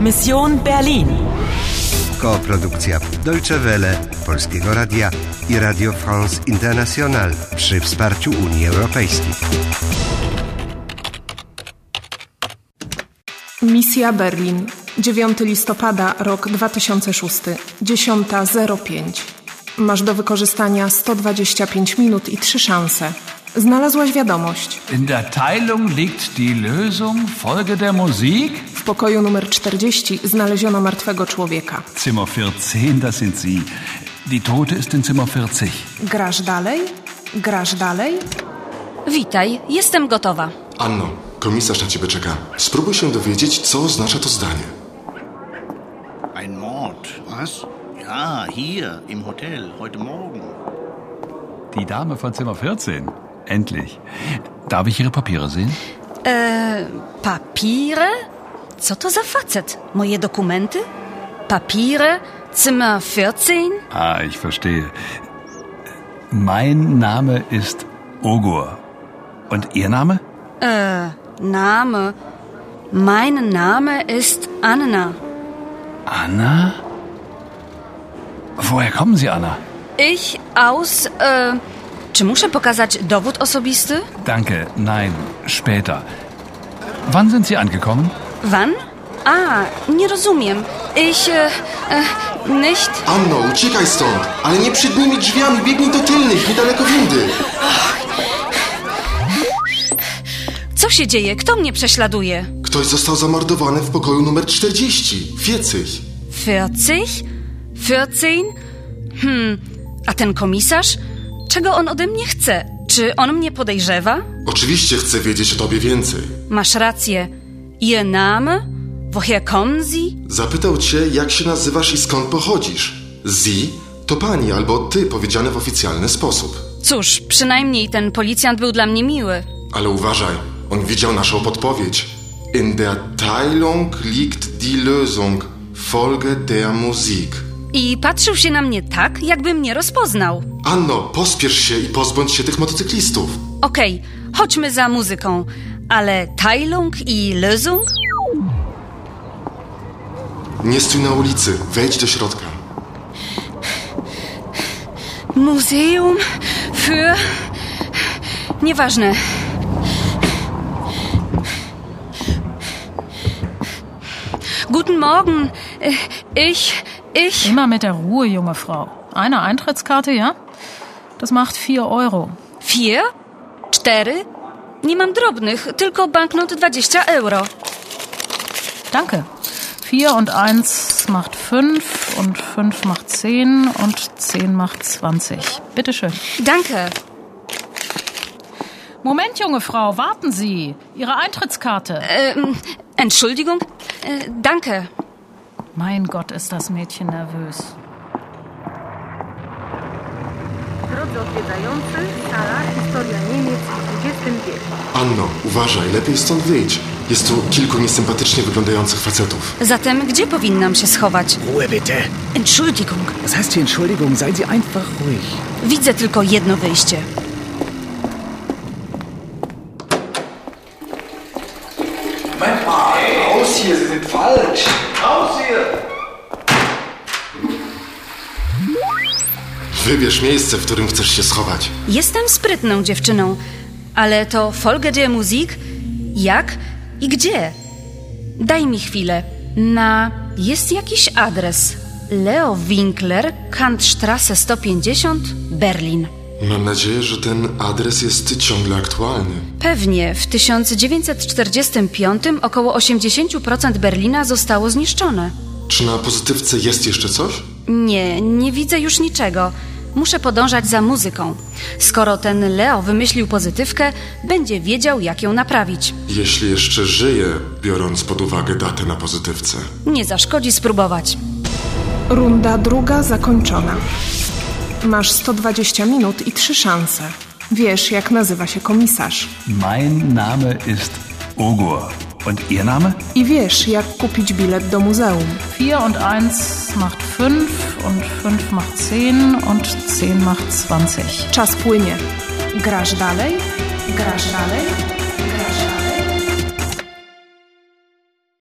Mission Berlin. Koprodukcja Deutsche Welle, Polskiego Radia i Radio France International przy wsparciu Unii Europejskiej. Misja Berlin. 9 listopada, rok 2006. 10.05. Masz do wykorzystania 125 minut i 3 szanse. Znalazłaś wiadomość. In der Teilung liegt die Lösung. Folge der Musik. W pokoju numer 40 znaleziono martwego człowieka. Zimmer 14, das sind Sie. Die Tote ist in Zimmer 40. Grasz dalej? Grasz dalej? Witaj, jestem gotowa. Anno, komisarz na ciebie czeka. Spróbuj się dowiedzieć, co oznacza to zdanie. Ein Mord. Was? Ja, hier im Hotel, heute Morgen. Die Dame von Zimmer 14. Endlich. Darf ich Ihre Papiere sehen? E, papiere? Co to za facet? Moje dokumenty? Papiere? Zimmer 14? Ah, ich verstehe. Mein Name ist Ogur. Und Ihr Name? E, Name. Mein Name ist Anna. Anna? Woher kommen Sie, Anna? Ich aus. E, czy muszę pokazać dowód osobisty? Danke, nein, später. Wann sind Sie angekommen? Wann? A, nie rozumiem. Ich. E, e, nicht. Anno, uciekaj stąd, ale nie przed nimi drzwiami, biegnij do tylnych, niedaleko windy. Co się dzieje? Kto mnie prześladuje? Ktoś został zamordowany w pokoju numer 40, wiecyś. 40? 14? Hmm, a ten komisarz? Czego on ode mnie chce? Czy on mnie podejrzewa? Oczywiście chcę wiedzieć o tobie więcej. Masz rację. Ihr Name? Woher kommen Sie? Zapytał cię, jak się nazywasz i skąd pochodzisz. Zi to pani albo ty powiedziane w oficjalny sposób. Cóż, przynajmniej ten policjant był dla mnie miły. Ale uważaj, on widział naszą podpowiedź. In der Teilung liegt die Lösung. Folge der Musik. I patrzył się na mnie tak, jakby mnie rozpoznał. Anno, pospiesz się i pozbądź się tych motocyklistów. Okej, chodźmy za muzyką. Ale Teilung i Lösung? Nie stój na ulicy, wejdź do środka. Museum für... Nieważne. Guten Morgen. Äh, Ich... Ich... Immer mit der Ruhe, junge Frau. Eine Eintrittskarte, ja? Das macht vier Euro. Vier? Cztery? Nie mam drobnych, tylko banknot 20 euro. Danke. Vier und eins macht fünf und fünf macht zehn und zehn macht zwanzig. Bitteschön. Danke. Moment, junge Frau, warten Sie. Ihre Eintrittskarte. Ähm, Entschuldigung? Äh, danke. Mein Gott, ist das Mädchen nervös. Drodzy odwiedzający, sala Historia Niemiec w XX wieku. Anno, uważaj, lepiej stąd wyjdź. Jest tu kilku niesympatycznie wyglądających facetów. Zatem gdzie powinnam się schować? Ruhe bitte. Entschuldigung. Was heißt hier Entschuldigung? Seien Sie einfach ruhig. Widzę tylko jedno wyjście. Moment mal, raus hier, Sie sind falsch. Raus hier! Wybierz miejsce, w którym chcesz się schować. Jestem sprytną dziewczyną, ale to Folge der Musik? Jak i gdzie? Daj mi chwilę. Na. Jest jakiś adres. Leo Winkler, Kantstrasse 150, Berlin. Mam nadzieję, że ten adres jest ciągle aktualny. Pewnie w 1945 około 80% Berlina zostało zniszczone. Czy na pozytywce jest jeszcze coś? Nie, nie widzę już niczego. Muszę podążać za muzyką. Skoro ten Leo wymyślił pozytywkę, będzie wiedział, jak ją naprawić. Jeśli jeszcze żyje, biorąc pod uwagę datę na pozytywce. Nie zaszkodzi spróbować. Runda druga zakończona. Masz 120 minut i 3 szanse. Wiesz, jak nazywa się komisarz. Mein Name ist Ogur. Und Ihr Name? I wiesz, jak kupić bilet do muzeum. Vier und eins macht fünf und fünf macht zehn und zehn macht zwanzig. Czas płynie. Grasz dalej? Grasz dalej?